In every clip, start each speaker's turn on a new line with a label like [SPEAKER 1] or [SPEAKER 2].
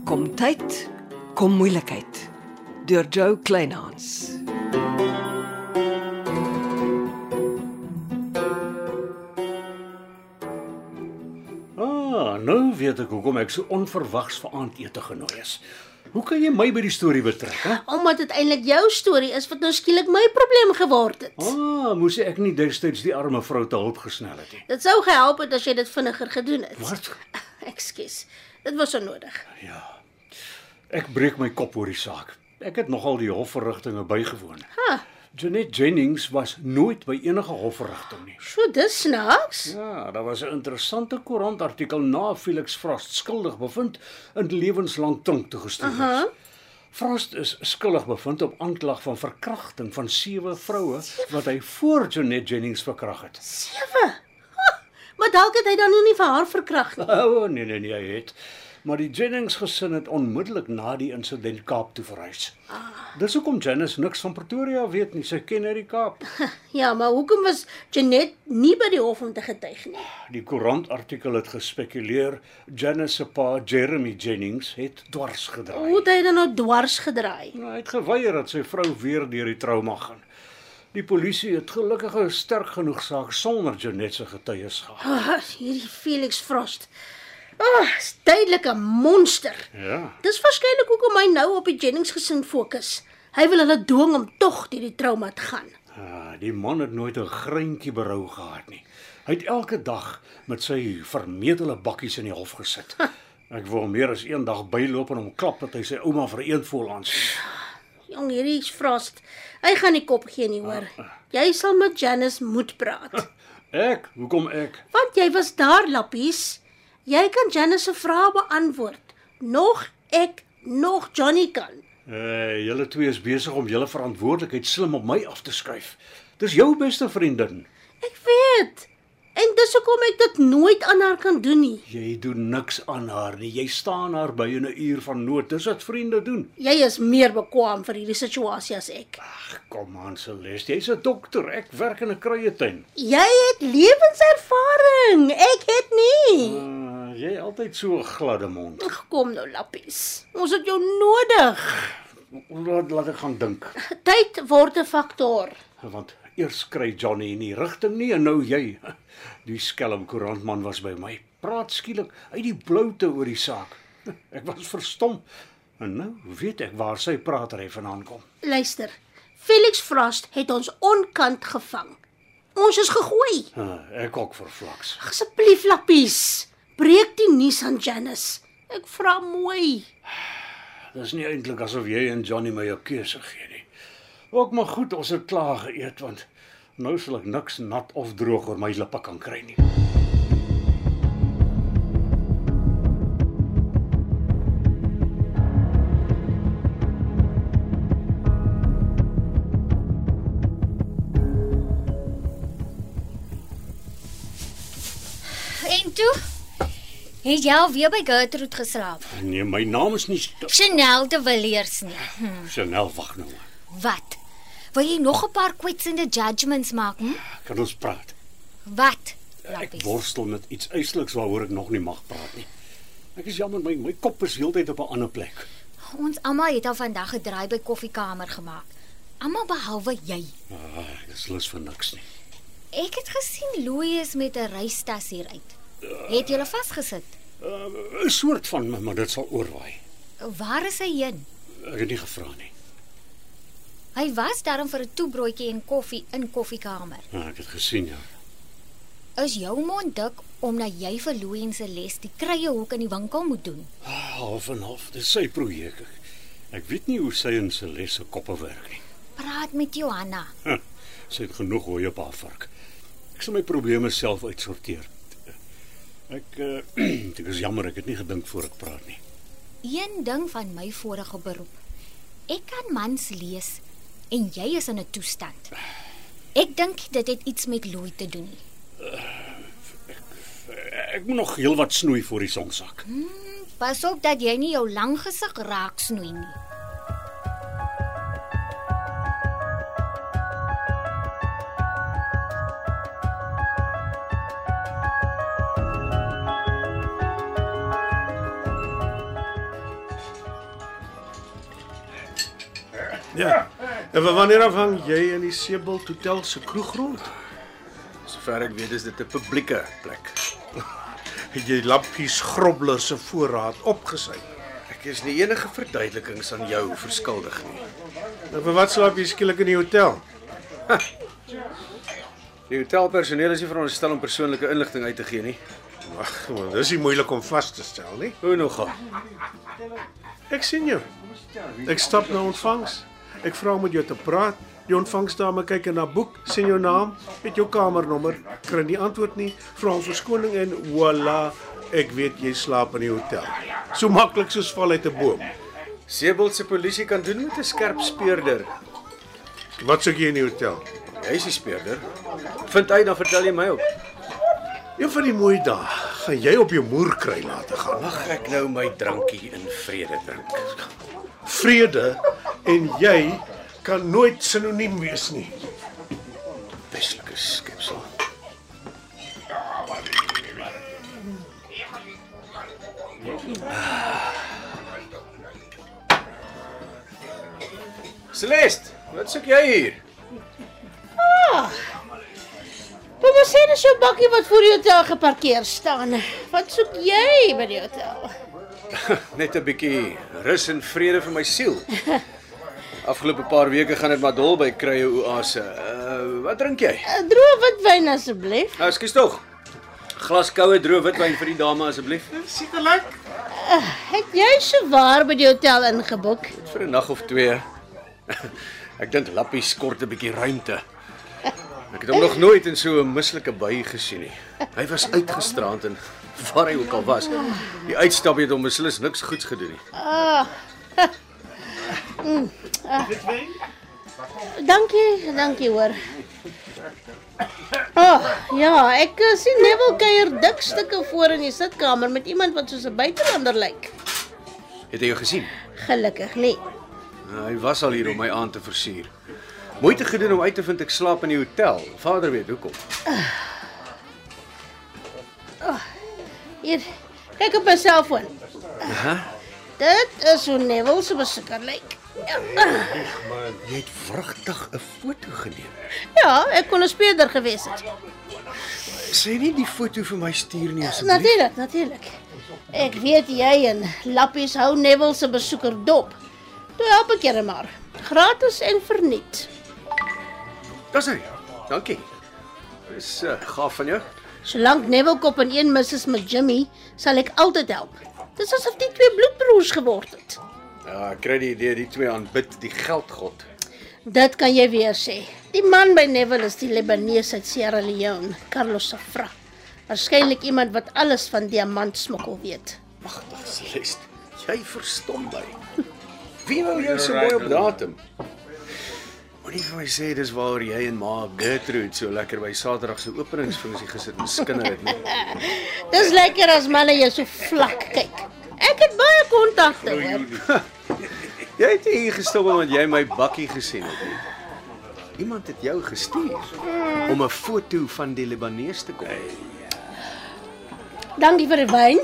[SPEAKER 1] Gesondheid kom moeilikheid deur Joe Kleinhans.
[SPEAKER 2] Ah, nou weet ek hoekom ek so onverwags vir aandete genooi is. Hoe kan jy my by die storie betrek, hè?
[SPEAKER 3] Omdat dit eintlik jou storie is wat nou skielik my probleem geword het.
[SPEAKER 2] Ah, moes ek nie destyds die arme vrou te hulp gesnel het nie.
[SPEAKER 3] Dit sou gehelp het as jy dit vinniger gedoen het.
[SPEAKER 2] Wat?
[SPEAKER 3] Ekskuus. Dit was onnodig.
[SPEAKER 2] Ja. Ek breek my kop oor die saak. Ek het nogal die hofverrigtinge bygewoon.
[SPEAKER 3] Ha,
[SPEAKER 2] Janet Jennings was nooit by enige hofverrigting nie.
[SPEAKER 3] so dis snaaks.
[SPEAKER 2] Ja, daar was 'n interessante koerantartikel na Felix Frost skuldig bevind in lewenslang tronk toegestuur is.
[SPEAKER 3] Aha.
[SPEAKER 2] Frost is skuldig bevind op aanklag van verkrachting van sewe vroue wat hy voor Janet Jennings verkragt het.
[SPEAKER 3] Sewe. Ha, Maar dalk het hy dan nou nie vir haar verkragt nie.
[SPEAKER 2] O oh, nee nee nee, hy het. Maar die Jennings gesin het onmiddellik na die insident Kaap toe verhuis.
[SPEAKER 3] Ah.
[SPEAKER 2] Dis hoekom Janice niks van Pretoria weet nie. Sy ken net die Kaap.
[SPEAKER 3] Ja, maar hoekom was Janet nie by die hof om te getuig nie?
[SPEAKER 2] Die koerantartikel het gespekuleer Janice se pa Jeremy Jennings het dwars
[SPEAKER 3] Hoe
[SPEAKER 2] gedraai.
[SPEAKER 3] het hy dan nou dwars gedraai?
[SPEAKER 2] Nou, Hy het geweier dat sy vrou weer deur die trauma gaan. Die polisie het gelukkig 'n sterk genoeg saak sonder Janet se getuies gehad.
[SPEAKER 3] Ah, hierdie Felix Frost. Ah, oh, tydelike monster.
[SPEAKER 2] Ja.
[SPEAKER 3] Dis waarskynlik hoekom hy nou op die Jennings gesin fokus. Hy wil hulle dwing om tog deur die trauma te gaan.
[SPEAKER 2] Ah, die man het nooit 'n greintjie berou gehad nie. Hy het elke dag met sy vermetele bakkies in die hof gesit. Ek wou meer as eendag byloop en hom klap dat hy sy ouma vereend voel aan.
[SPEAKER 3] Jong, hierdie is Frost. Hy gaan nie kop gee nie, hoor. Jy sal met Janice moet praat.
[SPEAKER 2] Ek, hoekom ek?
[SPEAKER 3] Want jy was daar, Lappies. Jy kan Janice se vrae beantwoord. Nog ek, nog Johnny kan.
[SPEAKER 2] Eh, julle twee is besig om julle verantwoordelikheid slim op my af te skuif. Dis jou beste vriendin.
[SPEAKER 3] Ek weet. En dis hoekom ek dit nooit aan haar kan doen nie.
[SPEAKER 2] Jy doen niks aan haar nie. Jy staan haar by in 'n uur van nood. Dis wat vriende doen.
[SPEAKER 3] Jy is meer bekwam vir hierdie situasie as ek.
[SPEAKER 2] Ag, kom aan, Celeste. Jy's 'n dokter. Ek werk in 'n kruietuin.
[SPEAKER 3] Jy het lewenservaring. Ek het nie.
[SPEAKER 2] Uh, jy altyd so 'n gladde mond.
[SPEAKER 3] Ag, Kom nou, Lappies. Ons het jou nodig.
[SPEAKER 2] Laat laat ek gaan dink,
[SPEAKER 3] Tyd word 'n faktor.
[SPEAKER 2] want eers kry Johnny in die rigting nie en nou jy. Die skelm koerantman was by my. Praat skielik uit die bloute oor die saak. Ek was verstom. En nou weet ek waar sy praatry vandaan kom.
[SPEAKER 3] Luister. Felix Frost het ons onkant gevang. Ons is gegooi.
[SPEAKER 2] Ah, Ek ook verflaks.
[SPEAKER 3] Asseblief, Lappies, breek die nuus aan Janice. Ek vra mooi.
[SPEAKER 2] Dis nie eintlik asof jy en Johnny my 'n keuse gee nie. Ook maar goed, ons het klaar geëet want nou sal ek niks nat of droog oor my lippe kan kry nie.
[SPEAKER 4] En toe het jy al weer by Gertrude geslaap.
[SPEAKER 2] Nee, my naam is nie St-
[SPEAKER 4] Chanel de Villiers nie. Hm,
[SPEAKER 2] Chanel wag nou. maar.
[SPEAKER 4] Wat? Wil jy nog 'n paar kwetsende judgments maak? Hm?
[SPEAKER 2] Kan ons praat?
[SPEAKER 4] Wat?
[SPEAKER 2] Ja, Ek
[SPEAKER 4] Lappies.
[SPEAKER 2] worstel met iets uitsliks waaroor ek nog nie mag praat nie. Ek is jammer my my kop is heeltyd op 'n ander plek.
[SPEAKER 4] Ons almal het al vandag gedraai by koffiekamer gemaak. Almal behalwe jy.
[SPEAKER 2] Ah, ek is lus vir niks nie.
[SPEAKER 4] Ek het gesien Louis is met 'n reistas hier uit. Het jy hulle vasgesit?
[SPEAKER 2] 'n uh, Soort van, maar dit sal oorwaai.
[SPEAKER 4] Waar is hy heen?
[SPEAKER 2] Ek het nie gevra nie.
[SPEAKER 4] Hy was daarom vir 'n toebroodjie en koffie in koffiekamer.
[SPEAKER 2] Ah, ek het gesien ja.
[SPEAKER 4] Is jou mond dik omdat jy vir Louis en Celeste die krye hoek in die winkel moet doen?
[SPEAKER 2] Ah, half en half, dis sy projek. Ek, ek weet nie hoe sy en Celeste se koppe werk nie.
[SPEAKER 4] Praat met Johanna.
[SPEAKER 2] Huh, sy het genoeg hooi op haar vark. Ek sal my probleme self uitsorteer. Ek uh, ek is jammer ek het nie gedink voor ek praat nie.
[SPEAKER 4] Een ding van my vorige beroep. Ek kan mans lees en jy is in 'n toestand. Ek dink dit het iets met Louis te doen. nie.
[SPEAKER 2] Ek moet nog heel wat snoei voor die sonsak.
[SPEAKER 4] Pas op dat jy nie jou lang gesig raak snoei nie.
[SPEAKER 5] Ja. En van wanneer af hang jy in die Seebult Hotel se kroeg rond?
[SPEAKER 6] Sover ek weet is dit 'n publieke plek.
[SPEAKER 5] Het jy lappies grobbler se voorraad opgesuig?
[SPEAKER 6] Ek is nie enige verduidelikings aan jou verskuldig nie.
[SPEAKER 5] En Nou, vir wat slaap jy skielik in die hotel?
[SPEAKER 6] Die hotelpersoneel is nie veronderstel om persoonlike inligting uit te gee nie.
[SPEAKER 5] Wag, want dis nie moeilik om vas te stel nie.
[SPEAKER 6] Hoe nou gaan?
[SPEAKER 5] Ek sien jou. Ek stap na ontvangs. Ek vra om met jou te praat. Die ontvangsdame kyk in haar boek, sien jou naam, het jou kamernommer, kry nie antwoord nie, vra om verskoning en voilà, ek weet jy slaap in die hotel. So maklik soos val uit 'n boom.
[SPEAKER 6] Seebult se polisie kan doen met 'n skerp speurder.
[SPEAKER 5] Wat soek jy in die hotel?
[SPEAKER 6] Jy is die speurder. Vind uit dan vertel jy my op.
[SPEAKER 5] Een van die mooi dae gaan jy op jou moer kry later gaan.
[SPEAKER 6] Mag ek nou my drankie in vrede drink?
[SPEAKER 5] Vrede en jy kan nooit sinoniem wees nie.
[SPEAKER 6] Beslike skepsel. Celeste, wat soek jy hier?
[SPEAKER 3] Kom ons sê dis jou bakkie wat voor die hotel geparkeer staan. Wat soek jy by die hotel?
[SPEAKER 6] Net 'n bietjie rus en vrede vir my siel. Afgelope paar weke gaan dit maar dol by krye oase. Uh, wat drink jy?
[SPEAKER 3] 'n Eh, Droë witwyn asseblief.
[SPEAKER 6] Nou, skus tog. Glas koue droë witwyn vir die dame asseblief.
[SPEAKER 3] Het jy sowaar by die hotel ingeboek?
[SPEAKER 6] Vir 'n nag of twee. Ek dink Lappie skort 'n bietjie ruimte. Ek het hom nog nooit in so 'n mislike by gesien nie. Hy was uitgestraand en waar hy ook al was. Die uitstap het hom beslis niks goeds gedoen nie.
[SPEAKER 3] Dankie, dankie hoor. Oh, ja, ek eh, sien Neville kuier dik stukke voor in die sitkamer met iemand wat soos 'n buitelander lyk.
[SPEAKER 6] Het jy jou gesien?
[SPEAKER 3] Gelukkig nee. nie.
[SPEAKER 6] Hy was al hier om my aan te versier. Moeite gedoen om uit te vind ek slaap in die hotel. Vader weet hoekom.
[SPEAKER 3] Hier, kyk op my selfoon. Dit is hoe Neville se besoeker lyk. Ja,
[SPEAKER 6] Maar jy het wragtig 'n foto geneem.
[SPEAKER 3] Ja, ek kon 'n speerder gewees het.
[SPEAKER 6] Sê nie die foto vir my stuur nie asseblief.
[SPEAKER 3] Natuurlik, natuurlik. Ek weet jy en Lappies hou Neville se besoeker dop. Toe help ek julle maar. Gratis en verniet.
[SPEAKER 6] Dis hy. Dankie. Dis uh, gaaf van jou.
[SPEAKER 3] Solank Neville kop en een mis is met Jimmy, sal ek altyd help. Dis asof die twee bloedbroers geword het.
[SPEAKER 6] Ja, ek kry die idee die twee aanbid die geldgod.
[SPEAKER 3] Dit kan jy weer sê. Die man by Neville is die Libanees uit Sierra Leone, Carlos Safra. Waarskynlik iemand wat alles van diamantsmokkel weet.
[SPEAKER 6] Magtig Celeste, jy verstom my. Wie wou jou so mooi op datum? Moenie vir my sê dis waar jy en ma Gertrude so lekker by Saterdag se openingsfunksie gesit en skinder het nie.
[SPEAKER 3] Dis lekker as manne jou so vlak kyk. Ek het baie kontakte hoor.
[SPEAKER 6] Jy het nie hier gestop omdat jy my bakkie gesien het nie. Iemand het jou gestuur om 'n foto van die Libanees te kom.
[SPEAKER 3] Dankie vir die wyn.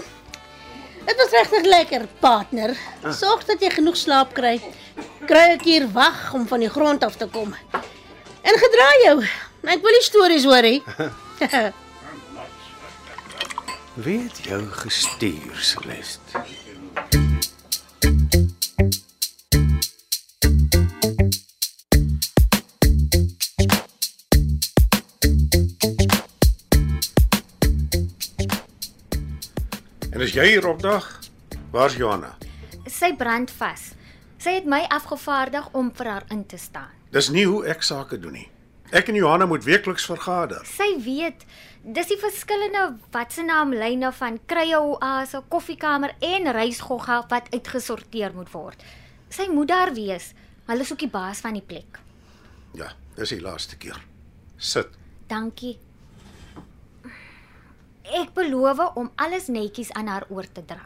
[SPEAKER 3] Dit was regtig lekker, partner. Sorg dat jy genoeg slaap kry. Kry ek hier wag om van die grond af te kom. En gedra jou. Ek wil nie stories hoor hê.
[SPEAKER 6] Wie het jou gestuur, Celeste?
[SPEAKER 5] En as jy hier opdag, waar's Johanna?
[SPEAKER 4] Sy brand vas. Sy het my afgevaardig om vir haar in te staan.
[SPEAKER 5] Dis nie hoe ek sake doen nie. Ek en Johanna moet weekliks vergader.
[SPEAKER 4] Sy weet dis die verskillende wat se naam lyne van krye oase, koffiekamer en reisgogga wat uitgesorteer moet word. Sy moet daar wees. Hulle soek die baas van die plek.
[SPEAKER 5] Ja, dis die laaste keer. Sit.
[SPEAKER 4] Dankie. Ek beloof om alles netjies aan haar oor te dra.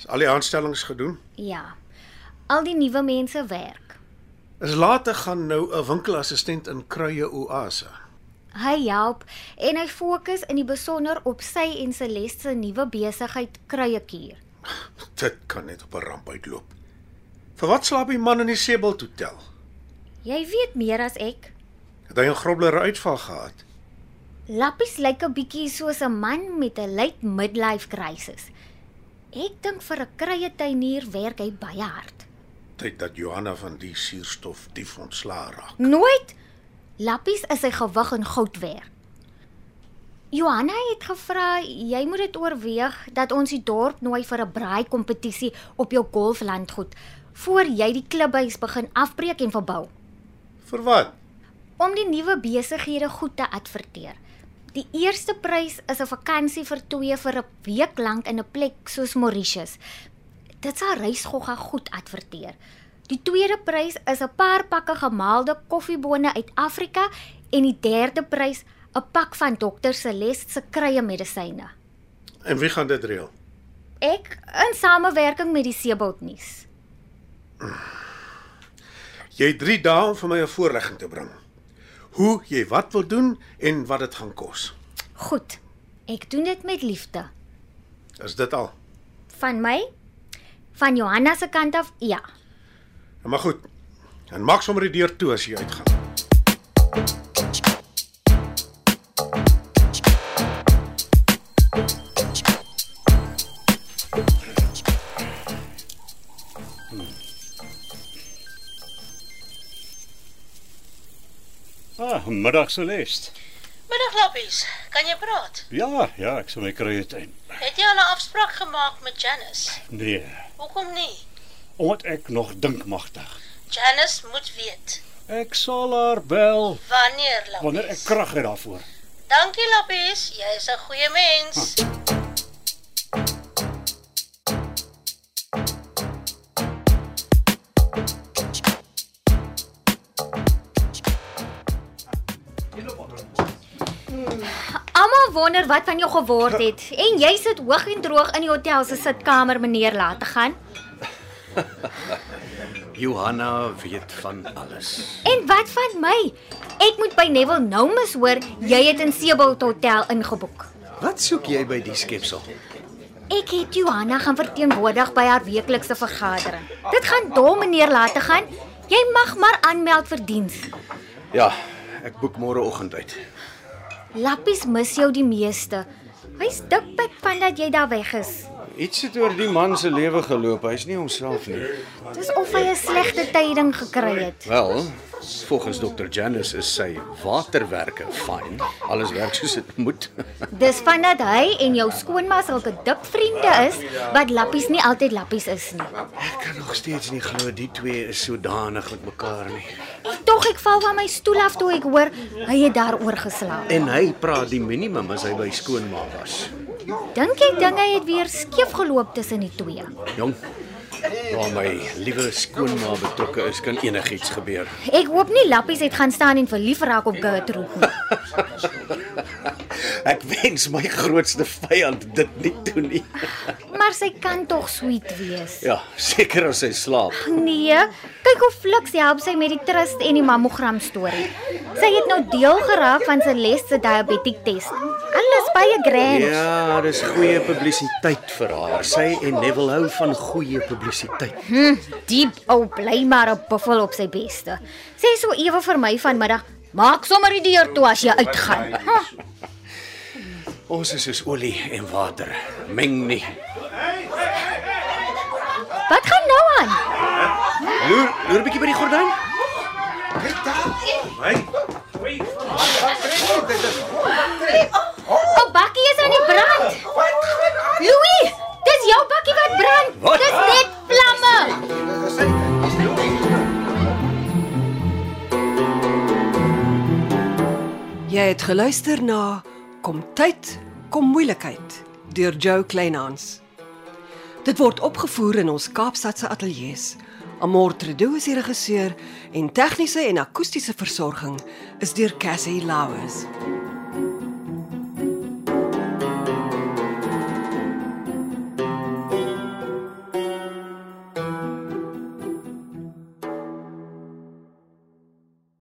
[SPEAKER 5] Is al die aanstellings gedoen?
[SPEAKER 4] Ja. Al die nuwe mense werk.
[SPEAKER 5] Is later gaan nou 'n winkelassistent in Kruie Oase.
[SPEAKER 4] Hy help en hy fokus in die besonder op sy en Celeste se nuwe besigheid kruiekuur.
[SPEAKER 5] Dit kan net op 'n ramp uitloop. Vir wat slaap die man in die Sebel Hotel?
[SPEAKER 4] Jy weet meer as ek.
[SPEAKER 5] Het hy 'n grobblere uitval gehad?
[SPEAKER 4] Lappies lyk 'n bietjie soos 'n man met 'n late midlife crisis. Ek dink vir 'n krye tuinier werk hy baie hard.
[SPEAKER 5] Tyd dat Johanna van die suurstof dief ontslaa raak.
[SPEAKER 4] Nooit. Lappies is sy gewig en goud werd. Johanna het gevra jy moet dit oorweeg dat ons die dorp nooi vir 'n braai kompetisie op jou golflandgoed voor jy die klubhuis begin afbreek en verbou
[SPEAKER 5] Vir wat?
[SPEAKER 4] om die nuwe besighede goed te adverteer. Die eerste prys is 'n vakansie vir twee vir 'n week lank in 'n plek soos Mauritius. Dit sal reisgogga goed adverteer. Die tweede prys is 'n paar pakke gemaalde koffiebone uit Afrika en die derde prys 'n pak van dokter Celeste se kruie medisyne.
[SPEAKER 5] En wie gaan dit reël?
[SPEAKER 4] Ek in samewerking met die Seebald nuus.
[SPEAKER 5] Jy het 3 dae om vir my 'n voorlegging te bring. Hoe jy wat wil doen en wat dit gaan kos.
[SPEAKER 4] Goed. Ek doen dit met liefde.
[SPEAKER 5] Is dit al?
[SPEAKER 4] Van my? Van Johanna se kant af? Ja.
[SPEAKER 5] Maar goed. En maak sommer die deur toe as jy uitgaan.
[SPEAKER 2] Ah, middag Celeste.
[SPEAKER 3] Middag lappies, kan jy praat?
[SPEAKER 2] Ja, ja, ek sal my kruie tuin.
[SPEAKER 3] Het jy al 'n afspraak gemaak met Janice?
[SPEAKER 2] Nee,
[SPEAKER 3] Hoekom nie?
[SPEAKER 2] omdat ek nog dink magtig.
[SPEAKER 3] Janice moet weet
[SPEAKER 2] Ek sal haar bel
[SPEAKER 3] wanneer lappies.
[SPEAKER 2] wanneer ek krag het daarvoor.
[SPEAKER 3] Dankie lappies, jy is 'n goeie mens.
[SPEAKER 4] Almal wonder wat van jou geword het en jy sit hoog en droog in die hotel se sitkamer meneer laat te gaan.
[SPEAKER 6] Johanna weet van alles.
[SPEAKER 4] En wat van my? Ek moet by Neville nou mis hoor jy het in Sebald Hotel ingeboek.
[SPEAKER 6] Wat soek jy by die skepsel?
[SPEAKER 4] Ek het Johanna gaan verteenwoordig by haar weeklikse vergadering. Dit gaan dom meneer laat te gaan. Jy mag maar aanmeld vir diens.
[SPEAKER 6] Ja, ek boek môreoggend uit.
[SPEAKER 4] Lappies mis jou die meeste. Hy's dikpik van dat jy daar weg is.
[SPEAKER 6] Iets het oor die man se lewe geloop. Hy's nie homself nie.
[SPEAKER 4] Dis of hy 'n slegte tyding gekry het.
[SPEAKER 6] Wel, volgens dokter Janus is sy waterwerke fyn. Alles werk soos dit moet.
[SPEAKER 4] Dis vandat hy en jou skoonma sulke dik vriende is wat lappies nie altyd lappies is nie.
[SPEAKER 6] Ek kan nog steeds nie glo die twee is sodanig met mekaar nie.
[SPEAKER 4] En tog ek val van my stoel af toe ek hoor hy het daaroor geslaap.
[SPEAKER 6] En hy praat die minimum as hy by skoonma was.
[SPEAKER 4] Dink ek dinge het weer skeef geloop tussen die twee.
[SPEAKER 6] Jong, waar my liewe skoonma betrokke is, kan enigiets gebeur.
[SPEAKER 4] Ek hoop nie lappies het gaan staan en verlief raak op Gertrude nie.
[SPEAKER 6] Ek wens my grootste vyand dit nie toe nie.
[SPEAKER 4] Maar sy kan tog sweet wees.
[SPEAKER 6] Ja, seker as hy slaap.
[SPEAKER 4] Nee, kyk hoe fliks sy help sy met die trust en die mammogram storie. Sy het nou deel geraak van Celeste se diabetic test. Alles baie grand.
[SPEAKER 6] Ja, dis goeie publisiteit vir haar. Sy en Neville hou van goeie publisiteit.
[SPEAKER 4] Diep ou bly maar 'n buffel op sy beste. Sê so ewe vir my vanmiddag, maak sommer die deur toe as jy uitgaan. Ha,
[SPEAKER 6] Ons is soos olie en water. Meng nie.
[SPEAKER 4] wat gaan nou aan?
[SPEAKER 6] Loer, loer 'n bietjie by die gordyn.
[SPEAKER 5] Hey,
[SPEAKER 4] 'n oh, Bakkie is aan die brand. Louis, dis jou bakkie wat brand.
[SPEAKER 6] Wat?
[SPEAKER 4] Dis net vlamme.
[SPEAKER 1] Jy het geluister na Kom tyd, kom moeilikheid deur Jo Kleinhans. Dit word opgevoer in ons Kaapstadse ateljee se. Amortredo is die regisseur en tegniese en akoestiese versorging is deur Cassie Lauers.